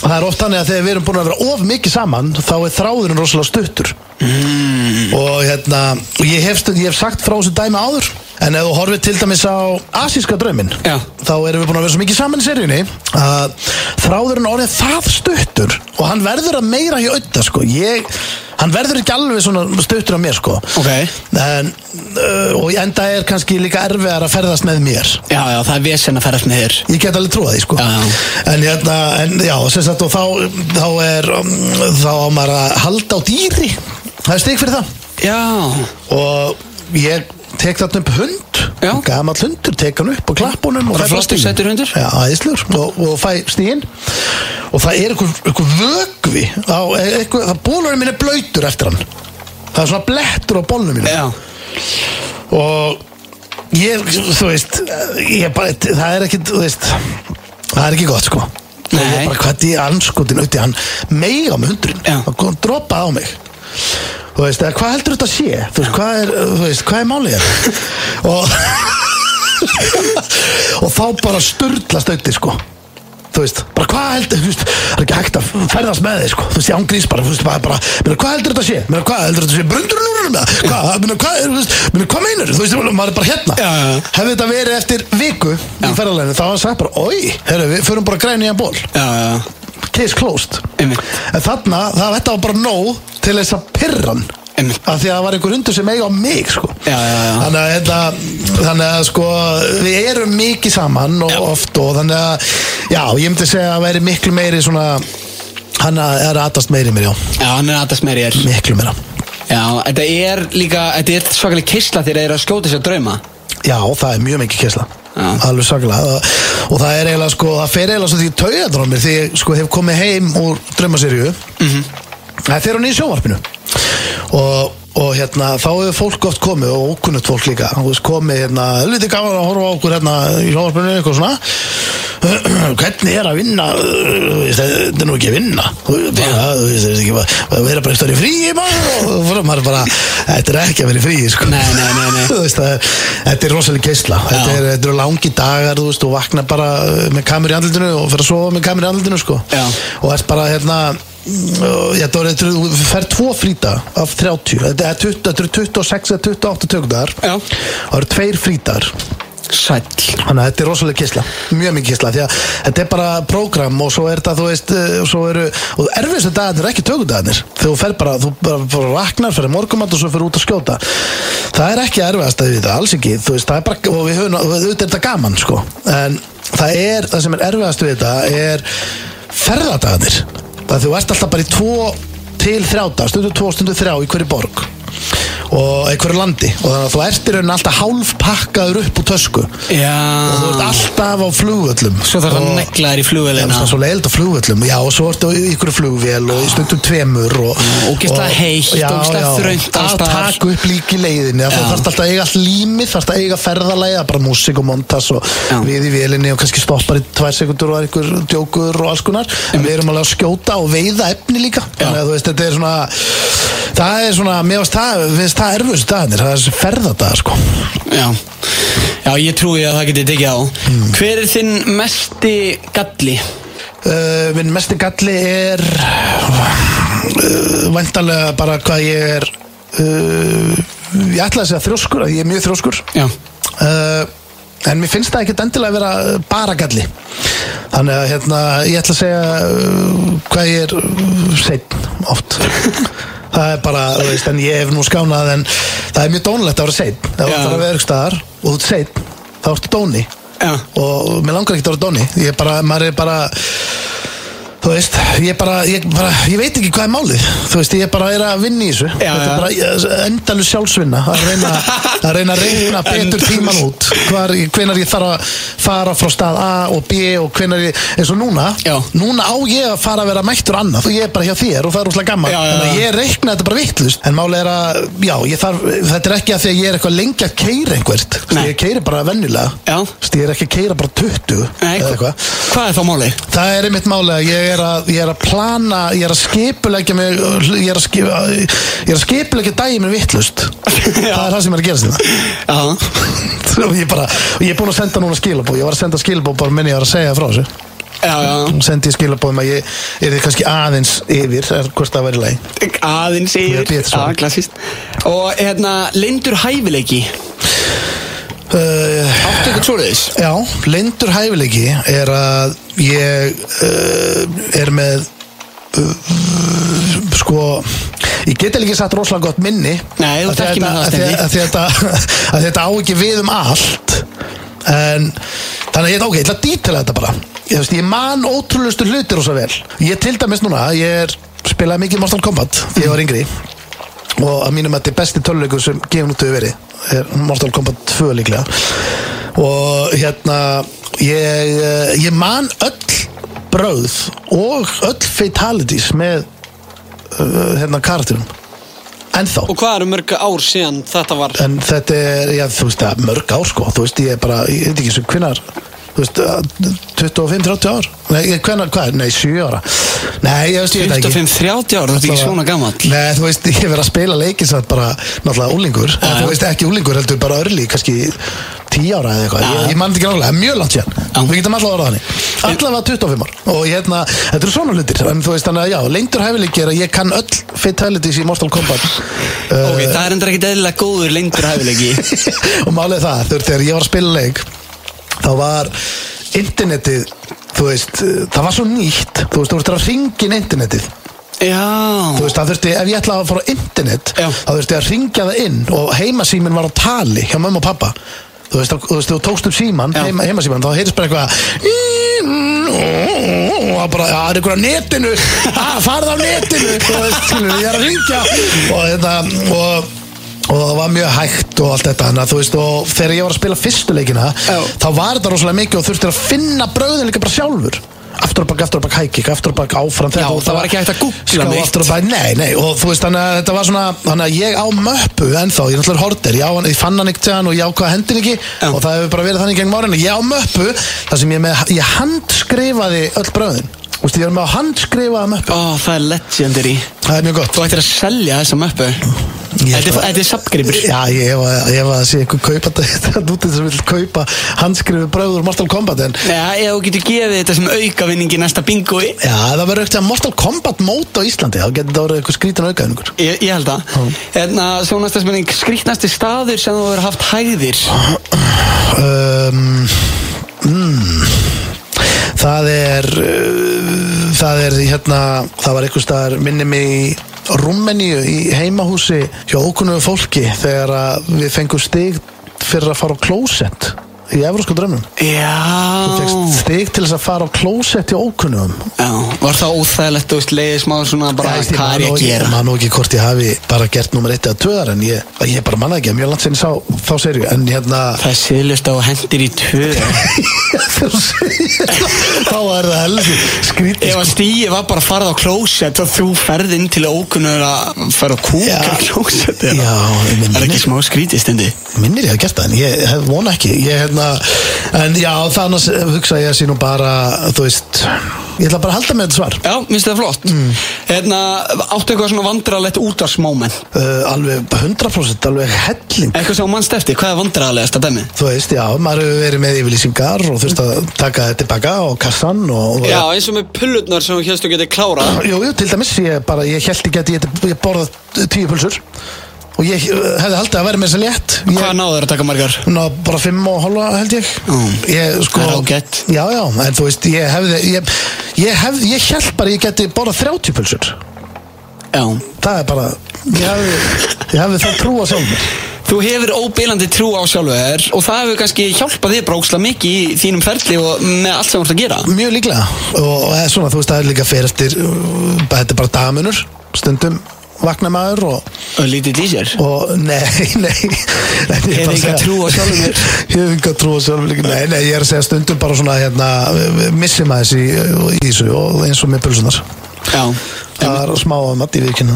Það er oft þannig að þegar við erum búin að vera of mikið saman Þá er þráðurinn rosalega stuttur mm. Og hérna og ég, hef stund, ég hef sagt frá þessu dæmi áður En ef þú horfir til dæmis á Asíska drauminn Já. þá erum við búin að vera svo mikið saman í seríunni að þráðurinn orðið það stuttur og hann verður að meira hjá auðvitað sko. ég, hann verður ekki alveg svona stuttur á mér sko. Ok en, uh, og enda er kannski líka erfiðar að ferðast með mér Já, já, það er vesen að ferast með þér Ég get alveg trúa því sko Já, já. En hérna, en, já, sem sagt og þá, þá er um, þá á maður að halda á dýri Það er stig fyrir það Já, og ég tek þarna upp hund Já. gamall hundur, tek hann upp og klapp honum og Bara fæ bara flottur, stigin. sætur hundur. já, æðislegur, og, og fæ stíðin og það er einhver, einhver vögvi á, e, einhver, það bólurinn minn er blöytur eftir hann það er svona blettur á bólnum minn já og ég, þú veist ég bara, það er ekki, þú veist það er ekki gott sko og Nei. ég bara hvað í anskotin auðvitað hann meiga með hundurinn Já. hann kom dropa á mig þú veist, eða hvað heldur þetta að sé þú veist, hvað er, þú veist, hvað er málið hérna? og og þá bara sturdlast auðvitað sko þú veist, bara hvað heldur, þú veist það er ekki hægt að ferðast með þig sko þú veist, ég ángrís bara, þú veist, bara, bara meina, hvað heldur þetta að sé, meina, hvað heldur þetta að sé, brundur núr um það, hvað, meina, hvað, er, þú veist, meina, hvað meinar þú veist, maður er bara hérna Já, já, já. hefði þetta verið eftir viku í ferðarleginu þá var það sagt bara, oi, herru, við förum bara græn í að ból Já, já, já case closed Einmitt. en þarna, það, þetta var bara nóg til þess að pirran Einmitt. af því að það var einhver hundur sem eiga á mig sko. Já, já, já. Þannig, að, hérna, þannig að sko við erum mikið saman og oft og þannig að já, ég myndi segja að væri miklu meiri svona hann að- er aðast meiri mér já, Já, hann er aðast með þér miklu meira Já, þetta er líka, þetta er svakalega kysla þegar þeir eru að skjóta sér drauma já, það er mjög mikið kessla Já. alveg saklega og það er eiginlega sko, það fer eiginlega svo því taugadrómir því ég sko hef komið heim úr draumaserju Mhm. Það fer hún í sjónvarpinu og, og hérna, þá hefur fólk oft komið og ókunnut fólk líka Þú veist, komið hérna, helviti gaman að horfa á okkur hérna í sjónvarpinu eitthvað svona hvernig er að vinna Þú veist, þetta er nú ekki að vinna Þú veist, bara, þú veist, þetta er ekki bara að vera bara eitthvað í fríi maður og þú fyrir maður bara þetta er ekki að vera í fríi sko Nei, nei, nei, nei. Þú veist, það er, þetta er rosalega geisla þetta, er, þetta eru langi dagar, þú veist, og vakna bara uh, með kameru í andlutinu og fyrir að sofa með kameru í andlutinu sko Já. og þess bara hérna mm, ég, það er, þú fer tvo fríta af 30, þetta er 20 þetta eru 26 eða 28 tökdagar Já. og það eru tveir frítar Sæll þannig að þetta er rosalega kisla, mjög mikið kisla því að þetta er bara prógram og svo er þetta þú veist, eh, svo eru og erfiðstu dagarnir er ekki tökudagarnir þegar þú fer bara, þú bara, bara vaknar, fer morgumat og svo fer út að skjóta það er ekki erfiðast að við þetta, alls ekki þú veist, það er bara, og við höfum, og auðvitað er þetta gaman sko, en það er það sem er erfiðast við þetta er ferðadagarnir, það þú ert alltaf bara í tvo til þrjáta, stundu tvo, stundu þrjá í hverju borg og einhverju landi og þannig að þú ert í raunin alltaf hálf pakkaður upp úr tösku og þú ert Já alltaf á flugvöllum Ah. Svo þarf að Og- negla þér í Já, flugvelina það er svo leild á flugvöllum Já, og svo ertu í ykkur flugvél og í stundum tveimur og, ógeðslega og- heitt, já, ógeðslega já, þröngt alls Að staðar. taka upp líki leiðinni Það Já. þarf alltaf að eiga allt límið, þarf að eiga ferðalæða bara músík og montas og Já. við í vélinni og kannski stoppar í tvær sekundur og það er ykkur djókur og alls konar En við erum alveg að skjóta og veiða efni líka Já. Þannig að þú veist, þetta er svona Það er svona, mér finnst það, finnst það erfustu dagarnir, það er þessi ferðadagar sko Já Já, ég trúi að það geti tekið á Hver er þinn mesti galli? Uh, minn mesti galli er uh, væntalega bara hvað ég er uh, ég ætla að segja þrjóskur ég er mjög þrjóskur Eh, Já uh, en mér finnst það ekkert endilega að vera bara galli Þannig að hérna, ég ætla að segja uh, hvað ég er uh, seinn oft. það er bara, þú veist, en ég hef nú skánað en það er mjög dónulegt að vera seinn. Ef Það Já. var bara að vera ykkur staðar og þú ert seinn, þá ertu dóni. Já. Og mér langar ekkert að vera dóni. Ég er bara, maður er bara, þú veist, ég bara, ég bara, ég veit ekki hvað er málið. Þú veist, ég bara er að vinna í þessu. Já, Þetta já. er bara endalus sjálfsvinna að reyna að reyna, að reyna betur tíman út hvar, hvenar ég þarf að fara frá stað A og B og hvenar ég eins og núna, Já. núna á ég að fara að vera mættur annað og ég er bara hjá þér og það er útla Já, gaman já, Þannig að já. ég reikna þetta bara vittlust en máli er að, já, ég þarf þetta er ekki að því að ég er eitthvað lengi að keira einhvert Þú veist, Nei. ég keiri bara venjulega Já. Þú veist, ég er ekki að keira bara 20 Nei, eða eitthvað hvað er þá máli? Það er einmitt málega, ég er að, ég er að plana, ég er að skipulegja mig, ég er að, skip, ég er að skipulegja daginn minn vittlust. það Já. er það sem er að gerast þetta. Já, Og ég, bara, og ég er búin að senda núna skilabóð, ég var að senda skilabóð bara minni ég var að segja frá þessu. já, já Nú Sendi ég skilabóð um að ég er kannski aðeins yfir, er, hvort það væri læg. aðeins Mjög yfir, betur svona. já, klassist og hérna, lindur hæfileiki Uh, áttu ykkur svoleiðis já, lindur hæfileiki er að ég uh, er með, uh, sko, ég get eiginlega ekki satt rosalega gott minni. Nei, þú Af því að þekkir mig þetta- það, af því að- Steindi. af því að þetta, að þetta á ekki við um allt en þannig að ég, ok, ég ætla að dítela þetta bara ég, veist, ég man ótrúlustu hlutir og svo vel ég til dæmis núna, ég er spilaði mikið Mortal Kombat þegar ég var yngri og að mínum að þetta er besti töluleikur sem gefin út hefur verið er Mortal Kombat 2 líklega og hérna ég, eh, ég man öll bröð og öll fatalities með uh, hérna karakterum ennþá og hvað eru mörg ár síðan þetta var en þetta er, já, þú veist, það er mörg ár sko, þú veist, ég er bara, ég veit ekki sem hvinnar þú veist, eh, 25-30 ár nei, hvinnar, hvað, nei, 7 ára nei, ég veist, ég veit það ekki 25-30 ár, þetta er ekki svona gamall Nei, þú veist, ég hef verið að spila leikið satt bara náttúrulega úlingur, Já, þú já. veist ekki úlingur heldur bara örli, kannski 10 ára eða eitthvað, Já. ég, ég mann þetta ekki náttúrulega, mjög langt sér, Já. við getum allavega orðað þannig allavega 25 ár og hérna, þetta eru svona hlutir, en þú veist þannig að já, lengdur hæfileiki er að ég kann öll fatalities í Mortal Kombat uh, ok, það er endur ekkit eðlilega góður lindur hæfileiki og málið er það, þú veist, þegar ég var að spila leik þá var internetið þú veist, eh, það var svo nýtt þú veist, þú veist, það ringin internetið þú já, veist, það þurfti, ef ég ætlaði að fara á internet Já. þá þurfti að ringja það inn og heimasíminn var á tali hjá mömmu og pappa þú veist, þá- þú, veist, þú tókst upp síman Já. heima, heimasíman, þá heyrðist bara eitthvað og það bara, "Já, það er ykkur á netinu að farða á netinu þú veist, skilur, ég er að ringja og þetta, og og það var mjög hægt og allt þetta hana, veist, og þegar ég var að spila fyrstu leikina Já. þá var þetta rosalega mikið og þurftir að finna bröðin líka bara sjálfur aftur og bak, aftur og bak, hækik, aftur og bak, Já, áfram þetta og það var ekki hægt að googla skrá neitt. aftur og bara, nei, nei, og þú veist þannig að þetta var svona, þannig að ég á möppu ennþá, ég er náttúrulega horter, ég, á hann, ég fann hann ekkert hann og ég ákvað hendin ekki Já. og það hefur bara verið þannig gegn márinu, ég á möppu þar sem ég, með, ég handskrifaði öll bröðin, þú veist, ég er með á handskrifaða möppu, ó, það er legendary það er mjög gott þú ættir að selja þessa möppu Ég- þetta er- þetta er sapgripur Já, ég hef að, ég hef að sé eitthvað kaupa þetta nútið sem vil kaupa handskrifu bröður Mortal Kombat en já, eða þú getur gefið þetta sem aukavinning í næsta bingoi já, það verður eitthvað Mortal Kombat mót á Íslandi, þá getur það verið eitthvað skrítin aukaðingur Ég, ég held það En að svo næsta spurning Skrýtnasti staður sem þú hefur haft hæðir um, mm, Það er uh, það er hérna það var eitthvað staðar minni mig í Rúmeníu í heimahúsi hjá ókunnugu fólki þegar að við fengum stig fyrir að fara á klósett í Evrósku drömmum Já fegst stig til þess að fara á klósett í ókunnum Já, var það óþægilegt, þú veist, leiðið smá svona bara, hvað er ég að Ég gera? man nú ekki hvort ég hafi bara gert nummer 1 eða 2 þar en ég, ég bara manna ekki, mjög langt sinni sá þá serju, en hérna Það er siðlust á hendir í tvö þú segir það, þá er það helsi skrítið Ef að stíi var bara að fara á klósett og þú ferð inn til ókunnur að fara að kúka Já. í klósett Já, ég Það minni- er ekki smá skrítið stundi minnir ég að gert það en ég hef vona ekki ég, hérna, en já, þannig hugsa ég að sé nú bara þú veist, ég ætla bara að halda með þetta svar Já, minnst það flott mm. Hérna, áttu eitthvað svona vandralegt útarsmoment uh, alveg 100% alveg helling Eitthvað sem þú manst eftir, hvað er vandralegast að dæmi? þú veist, já, maður hefur verið með yfirlýsingar og þurft að taka þetta tilbaka og kassan og, Já, eins og með pullurnar sem þú hérstu getið klárað Jú, jú, til dæmis, ég bara, ég held ekki að ég, ég borða tíu pulsur og og ég eh, hefði haldið að vera með þess að létt Hvað náðu þér að taka margar? Ná, bara fimm og hálfa held ég Mm. Ég sko Það er ágætt. Já, já, en þú veist, ég hefði Ég, ég, hef, ég held bara að ég geti bara 30 pulsur Já Það er bara Ég hefði, ég hefði það trúa sjálf mér Þú hefur óbílandi trú á sjálfu þér og það hefur kannski hjálpað þér bróksla mikið í þínum ferli og með allt sem þú ert að gera Mjög líklega og, og eða svona, þú veist, það er líka fyrir eftir uh, Þetta er bara dagamunur Stundum vakna maður og, Og lítið í sér og nei, nei nei, ég er bara að enga segja- trú á sjálfum þér. Ég hef enga trú á sjálfum mér Nei, nei, ég er að segja stundum bara svona hérna, missi maður þessi í þessu og eins og með pulsunar Já Það er smá að mati viðkynna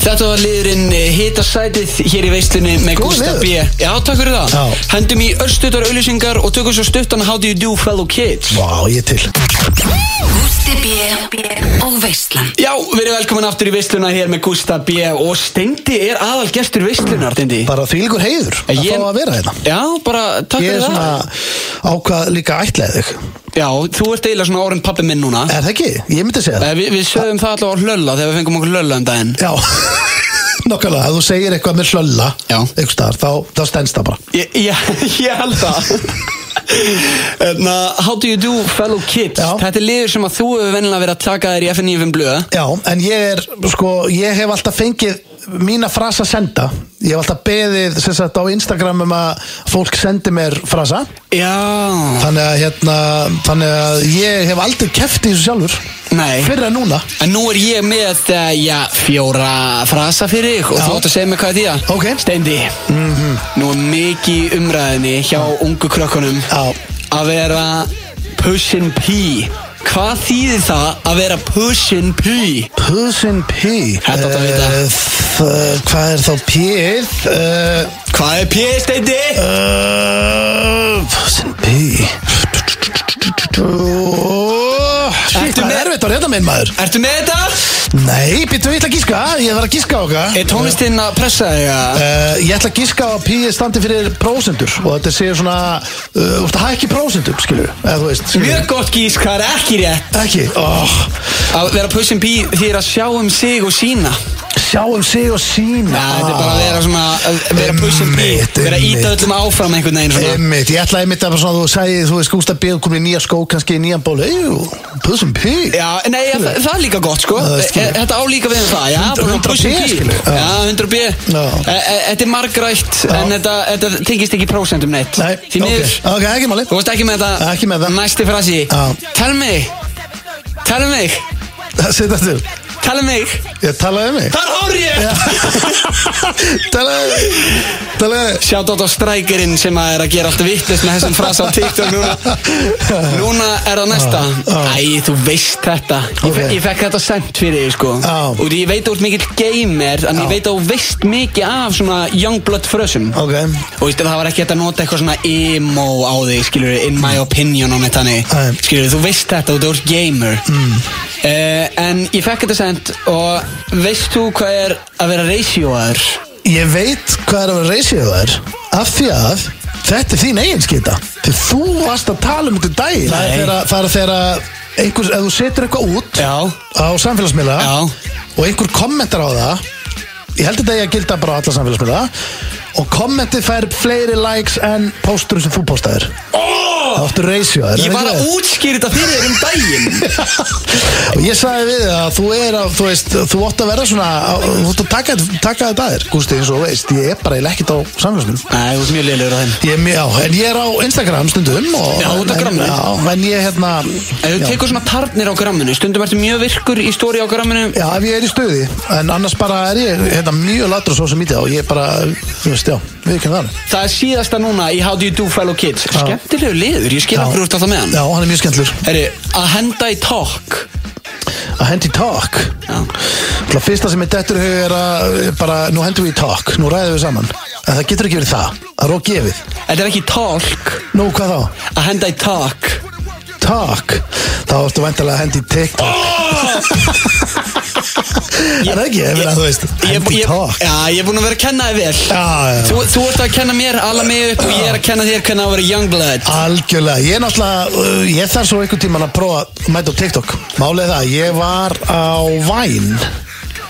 Þetta var liðurinn eh, hitasætið hér í veistlunni með Góður Gústa B. liður. Já, takk fyrir það. Já. Hendum í örstutar auðlýsingar og tökum svo stuttan How do you do fellow kids? Vá, ég er til Gústi B og Veistland Já, verið velkomin aftur í veisluna hér með Gústa B. Og Steindi er aðal gestur veislunar, Steindi. Bara því líkur heiður að Ég- fá að vera hérna Já, bara takk Ég fyrir er það. svona ákvað líka ætlaðið þig Já, þú ert eiginlega svona orðin pappi minn núna. Er það ekki? Ég myndi segja Eh, það Vi, við sögum það allavega á hlölla þegar við fengum okkur hlölla um daginn. Já, nokkulega, ef þú segir eitthvað með hlölla Já. einhvers staðar, þá, þá stendst það bara Ég, ég, ég held það Na, Hérna, How do you do fellow kids Já. Þetta er liður sem að þú hefur vennilega verið að taka þér í FNF blöða Já, en ég er, sko, ég hef alltaf fengið mína frasa senda Ég hef alltaf beðið, sem sagt, á Instagram um að fólk sendi mér frasa Já, Þannig að, hérna, þannig að ég hef aldrei keft í þessu sjálfur nei Fyrr en núna En nú er ég með, uh, já, fjóra frasa fyrir þig og Já. þú átt að segja mér hvað er því að Ok. Steindi, nú er mikið í umræðinni hjá ungu krökkunum Já. að vera pushin' pí Hvað þýðir það að vera pushin' pí? Pusin P Þetta átti að vita. Eh, f- eh, Hvað er þá Eh, P-ið? Hvað er pí, Steindi? Pusin eh, P Oh, Shit, Ertu það með- er erfitt að reyna minn maður Ertu með þetta? Nei, býttu, ég ætla að gíska Ég þarf að gíska á okkar Eh, Er tónlistinn að pressa þig að? Ég ætla að gíska á að P-ið standi fyrir prósendur Og þetta séu svona uh, Úst að hækki prósendur, skilur Eða þú veist skilurðu. Mjög gott gís, hvað er ekki rétt? Ekki, oh, Að vera pushin' pí þýðir að sjá um sig og sína sjá um sig og sína Já, þetta er bara að vera svona, að vera pushin' pí, Einmitt, vera að íta einmitt. öllum áfram einhvern veginn svona Einmitt, ég ætlaði einmitt að bara svona, þú sagði, þú veist, Gústa B. komin í nýja skó, kannski í nýjan ból, eyjú, pussum pí. Já, nei, ja, það, það er líka gott sko það er skilur. E- Þetta á líka við um það, já, bara 100 push and B, pee skilur. Já. Já, 100 B E- Já. e- Þetta er margrætt en þetta, þetta tengist ekki prósentum neitt Nei, Því miður, ok, ok, ekki máli. þú veist ekki með þetta Ekki með það. Næsti frasi Já. Tel mig, tel mig, Sitt að til, tel mig ég talaði um mig. Þar hór ég talaði, talaði, Sjátt á strækirinn sem að er að gera allt vittlust með þessum frasa á TikTok núna Núna er það næsta Já, já. Æ, þú veist þetta Ég, okay. Ok. ég fekk þetta sendt fyrir þig sko Já. Og því ég veit að þú ert mikill gamer En ég Já. veit að þú veist mikið af svona Youngblood frösum ok, Og veist, það var ekki hægt að nota eitthvað svona emo á þig, skilur in my opinion og neitt þannig Nei. Skilur þú veist þetta og þú ert gamer mm. En ég fekk þetta sendt og veist þú hvað er að vera ratioaður? ég veit hvað er að vera reysið það er, af því að þetta er þín eigin skita. Því þú varst að tala um einhvern dag, það er Nei. þegar, það er þegar að einhver, ef þú setur eitthvað út Já á samfélagsmiðla Já. og einhver kommentar á það ég held þetta að ég gilda bara á alla samfélagsmiðla og kommentið fær fleiri likes en póstur sem þú póstaðir oh! það áttu reysjó Ég var að útskýra þetta fyrir þér um daginn og ég sagði við þig að þú er að, þú veist, þú átt að vera svona þú átt að taka, taka þetta að þér Gústi eins og þú veist, ég er bara ég ekkert á samfélagsmiðlum Nei, þú ert mjög liðlegur á þeim ég er mjög, já, en ég er á Instagram stundum og, Já, þú ert á en- Grammi. já, en ég hérna Ef þú já. tekur svona tarnir á gramminu Stundum ertu mjög virkur í stóri á gramminu Já, ef ég er í stuði, en annars bara er ég hérna, mjög latur svo sem í og ég bara, þú veist, já, við erum það. Það er síðasta núna í How Do You Do Fellow Kids Skemmtilegu liður, ég skil Já. af hverju þú ert alltaf með hann Já, hann er mjög skemmtlur. Herri, að henda í talk Að hendi í talk. Já. Það fyrsta sem er dettur í hug er að eh, bara, nú hendum við í talk, nú ræðum við saman. En það getur ekki verið það, það er ógefið. Þetta er ekki talk Nú, hvað þá? Að henda í talk Talk. Þá ertu væntalega að hendi í TikTok. er það ekki, ef það þú veist, hendi í Oh! ég, talk. Já, ég er búin að vera að kenna þið vel Já, já. Þú, þú ert að kenna mér, ala mig upp og ég er að kenna þér hvernig á að vera youngblood Algjörlega, ég er náttúrulega, uh, ég þarf svo einhvern tíman að prófa að mæta á TikTok Málið er það, ég var á Vine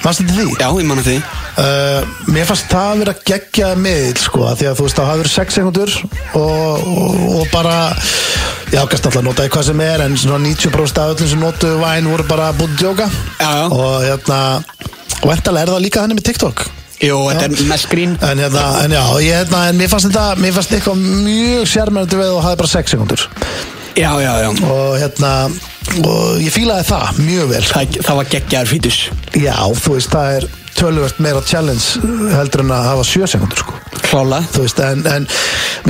Varstu til því? Já, ég manna því Uh, mér fannst það að vera geggja miðl sko, af því að þú veist það hafa verið 6 sekundur og, og, og bara já, kannski alltaf notaði hvað sem er en svona 90% af öllum sem notuðu væn voru bara búin að djóka Já, já. og hérna, og endalega er það líka þannig með TikTok Jú, þetta er mest grín en hérna, en já, ég, hérna, en mér fannst þetta mér fannst eitthvað mjög sérmennandi við og hafi bara 6 sekundur Já, já, já og hérna, og ég fílaði það mjög vel Það, það var geggjaður fítus já, þú veist, það er tölvöld meira challenge heldur en að hafa 7 sekundur sko Klála þú veist, en, en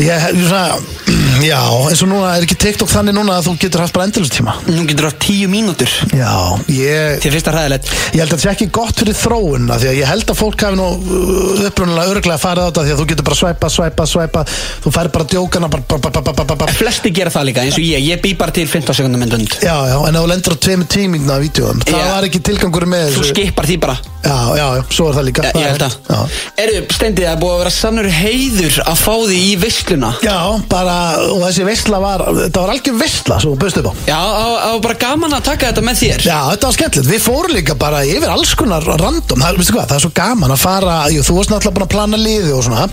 ég, ég, svona, já, eins og núna er ekki TikTok þannig núna að þú getur haft bara endalust tíma Nú getur það tíu mínútur já, ég, Til fyrsta hræðilegt ég held að þetta sé ekki gott fyrir þróun af því að ég held að fólk hafi nú uh, upprunalega örglega farið á þetta því að þú getur bara svæpa, svæpa, svæpa þú færi bara djókana bara, bara, bara, bara, bara, bara, bara. Flesti gera það líka eins og ég Ég bý bara til 15 sekundum en dund já, já, en ef þú lendur á tveimur tímingna af vídjóum, það Já. var ekki tilgangur með Þú þessu skipar því bara já, já, já, svo er það líka Já, Ég held að já. Eru steindið að búið að vera sannur heiður Að fá því í veisluna já, bara, og þessi veistla var þetta var algjör veistla sem þú bauðst upp á Já, það var bara gaman að taka þetta með þér Já, þetta var skemmtilegt. Við fórum líka bara yfir alls konar random. Það, veistu hvað, það er svo gaman að fara, jú, þú varst náttúrulega búin að plana liði og svona,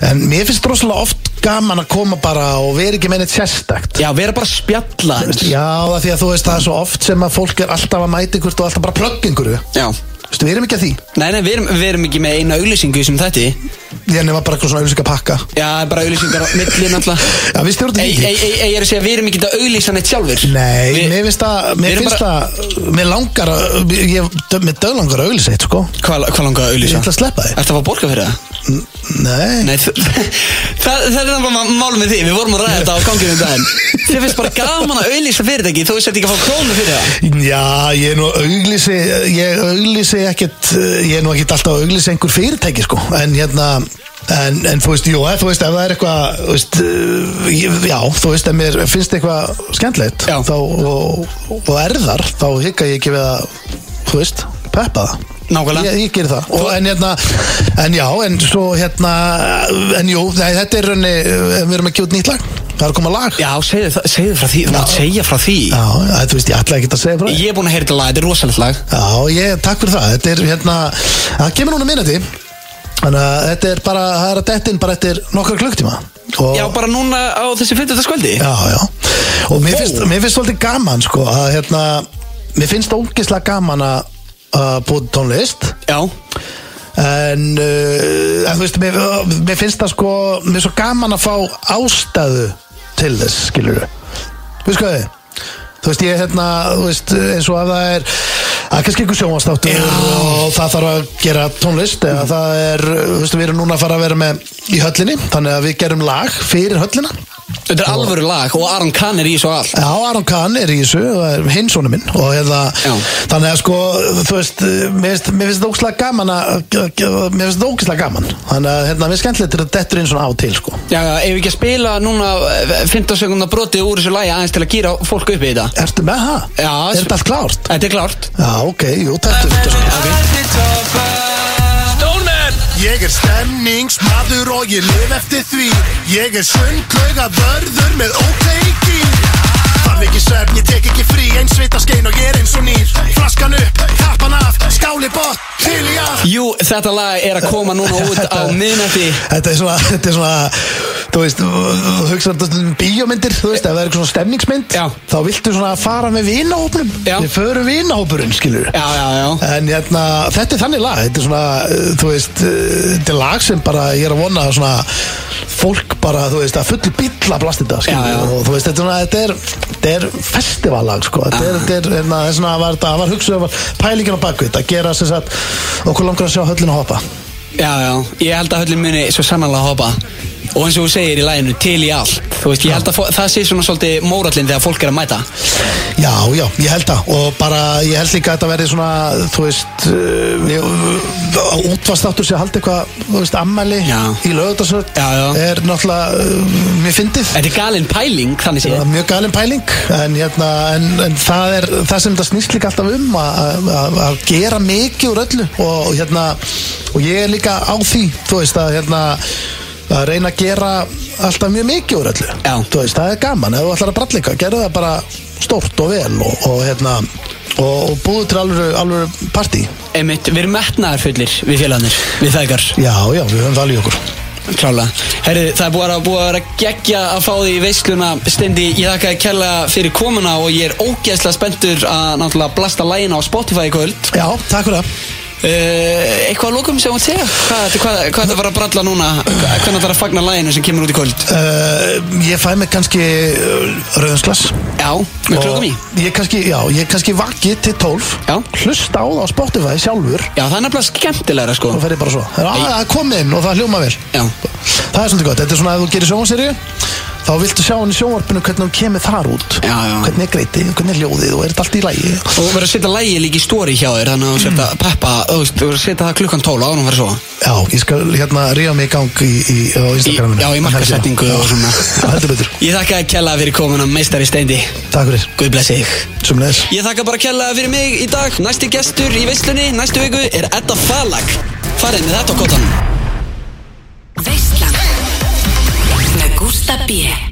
en mér finnst rosalega oft gaman að koma bara og vera ekki með neitt sérstakt. Já, vera bara að spjalla aðeins. Já, það er því að þú veist það er svo oft sem að fólk er alltaf að mæta ykkur og alltaf bara plugga ykkur. Já Veistu, við erum ekki að því. Nei, nei, við erum, við erum ekki með eina auglýsingu sem þetta Ég nefna bara eitthvað svona auðvitað pakka. Já, bara auglýsingar á milli náttúrulega Já, við stjórnum Ei, ekki. ei, ei, ei, ég er að segja, við erum ekki að auglýsa neitt sjálfur Nei, Við- mér finnst það, við mér erum finnst það, mér langar að, ég, mér döglangar að auðvitað eitt, sko. Hvað hva langar að Ég auglýsa? ætla að sleppa þig. Ertu að fá að borga fyrir það? Nei. Nei, þ- það, það er það bara málum með því Við vorum að ræða þetta á ganginu um daginn Þið finnst bara gaman að auðlýsa fyrirtæki Þú veist ekki að fá krónu fyrir það Já, ég er nú auglýsi ég auglýsi ekkert eh, ég er nú ekkert alltaf að auglýsi einhver fyrirtæki sko. en hérna En, en þú veist, jú, ef þú veist, ef það er eitthvað, þú veist, eh, ég- já, þú veist, ef mér finnst eitthvað skemmtilegt, Já. þá, og, og erðar, þá hikka ég ekki við að, þú veist, peppa það. Nákvæmlega. Ég, ég ger það. Og, en hérna, en já, en svo hérna, en jú, nei, þetta er raunni, við erum að gefa út nýtt lag, það er að koma lag. Já, segðu, það- segðu frá því Þú mátt segja frá því Já, eh, þú veist, ég ætla ekki að segja frá því. Ég er búin að heyra þetta lag, þetta er rosalegt lag Já, ég, takk fyrir það Þetta er hérna, það kemur núna minnati Þannig að þetta er bara, það er að dettin bara eftir nokkra klukktíma og, Já, bara núna á þessi fimmtudagskvöldi já, já Og mér finnst, mér finnst svolítið gaman sko að hérna, mér finnst ógislega gaman að að búið tónlist Já, en, uh, en þú veist, mér, mér finnst það sko mér er svo gaman að fá ástæðu til þess, skilur við veist hvað þið þú veist, ég hérna, þú veist, eins og að það er að kannski einhver sjónvastáttur og það þarf að gera tónlist eða það er, þú veist, við erum núna að fara að vera með í höllinni, þannig að við gerum lag fyrir höllina þetta er alvöru lag og Aron Kahn er í svo all Já, Aron Kahn er í þessu, það er hinn sonu minn og hérna, Já. þannig að sko þú veist, mér finnst- mér finnst það ógslag gaman að, mér finnst það ógslag gaman þannig að hérna, mér er skemmtilegt þegar þetta dettur inn svona á og til sko. Já, já, ef við ekki að spila núna eh, 15 sekundar brotið úr þessu lagi aðeins til að gýra fólk upp í þetta Ertu með það? Já, Er þetta allt klárt? Þetta er klárt Já, ok, jú, þetta er þetta Ég er stemningsmadur og ég lif eftir því Ég er sundlauga vörður með ókleiki Þarf ekki svefn, ég tek ekki frí Einn svita skein og ég er eins og nýr Flaskan upp, kappan af, skáli bótt, til í af Jú, þetta lag er að koma núna út á miðnætti Þetta er svona, þetta er svona þú veist, þú hugsaður þetta um bíómyndir, þú veist, ef það er eitthvað svona stemningsmynd Já. þá viltu svona fara með vinahópunum Já. við förum vinahópurinn, skilur Já, já, já En hérna, þetta er þannig lag, þetta er svona, uh, þú veist, uh, þetta er lag sem bara, ég er að vona að svona, fólk bara, þú veist, að fullu bíla blast þetta, Já, já. skiljum, og þú veist, þetta er svona, þetta er, þetta er festivallag, sko, þetta er, þetta er, hérna, það er svona, var, það var um hugsuð, var pælingin á bakvið, þetta gera sem sagt, okkur langar að sjá höllin að hoppa. Já, já, ég held að höllin muni svo sannlega hoppa Og eins og þú segir í laginu, til í allt Þú veist, ég held að fó- það sé svona svolítið mórallin þegar fólk er að mæta Já, já, ég held það, og bara, ég held líka að þetta verði svona, þú veist, eh, uh, útvastáttur sem haldi eitthvað, þú veist, ammæli Já. í lögutasvörn, Já, já. er náttúrulega, uh, mér fyndið. Þetta er galin pæling, þannig Það séð er mjög galin pæling en, hérna, en, en það er það sem það snýst líka alltaf um að- að að- að gera mikið úr öllu og, hérna, og ég er líka á því þú veist að hérna, að reyna að gera alltaf mjög mikið úr öllu Já. Þú veist, það er gaman, ef þú ætlar að bralla eitthvað gerðu það bara stórt og vel og, og, hérna, og, og búðu til alvöru, alvöru partí Einmitt, við erum metnaðarfullir við félagarnir, við þegar, Já, já, við höfum það alveg í okkur klála Herri, það er búið að, búið að vera geggja að fá því í veisluna Stendi, ég þakka þér kærlega fyrir komuna og ég er ógeðslega spenntur að náttúrulega blasta lægina á Spotify í kvöld Já, takk fyrir það uh, Eitthvað að lókum sem hún segja? Hvað, hvað, hvað þetta var að bralla núna? Hva- Hvernig þetta er að fagna læginu sem kemur út í kvöld? uh, Ég fæ mig kannski uh, rauðinsglas Já, með klökum í Ég kannski, já, ég kannski vaki til 12 Já. Hlusta á það á Spotify sjálfur Já, það er nefnilega skemmtilegra sko og fer ég bara svo Það er- Það er komið inn og það hljóma vel Já, Það er svolítið gott, þetta er svona að þú gerir sjónvarseríu þá viltu sjá hann í sjónvarpinu hvernig hún kemur þar út Já, já. hvernig er greitið, hvernig er hljóðið og er þetta allt í lægi og verður að setja lægi líka í stóri hjá þér þannig að þú setja peppa, þú veist, þú verður að setja það klukkan 12 ánum verður svo Já, ég skal hérna ríða mig í gang í, í, á Instagraminu Í- já, í markaðssetningu og svona. Þetta betur, Ég þakka að kella fyrir komuna meistari steindi takk fyrir, Guð blessi þig sumleðis Ég þakka bara kella fyrir mig í dag Næsti gestur í veislunni næstu viku er Edda Falag Farið með þetta á kottanum Veislan Með Gústa B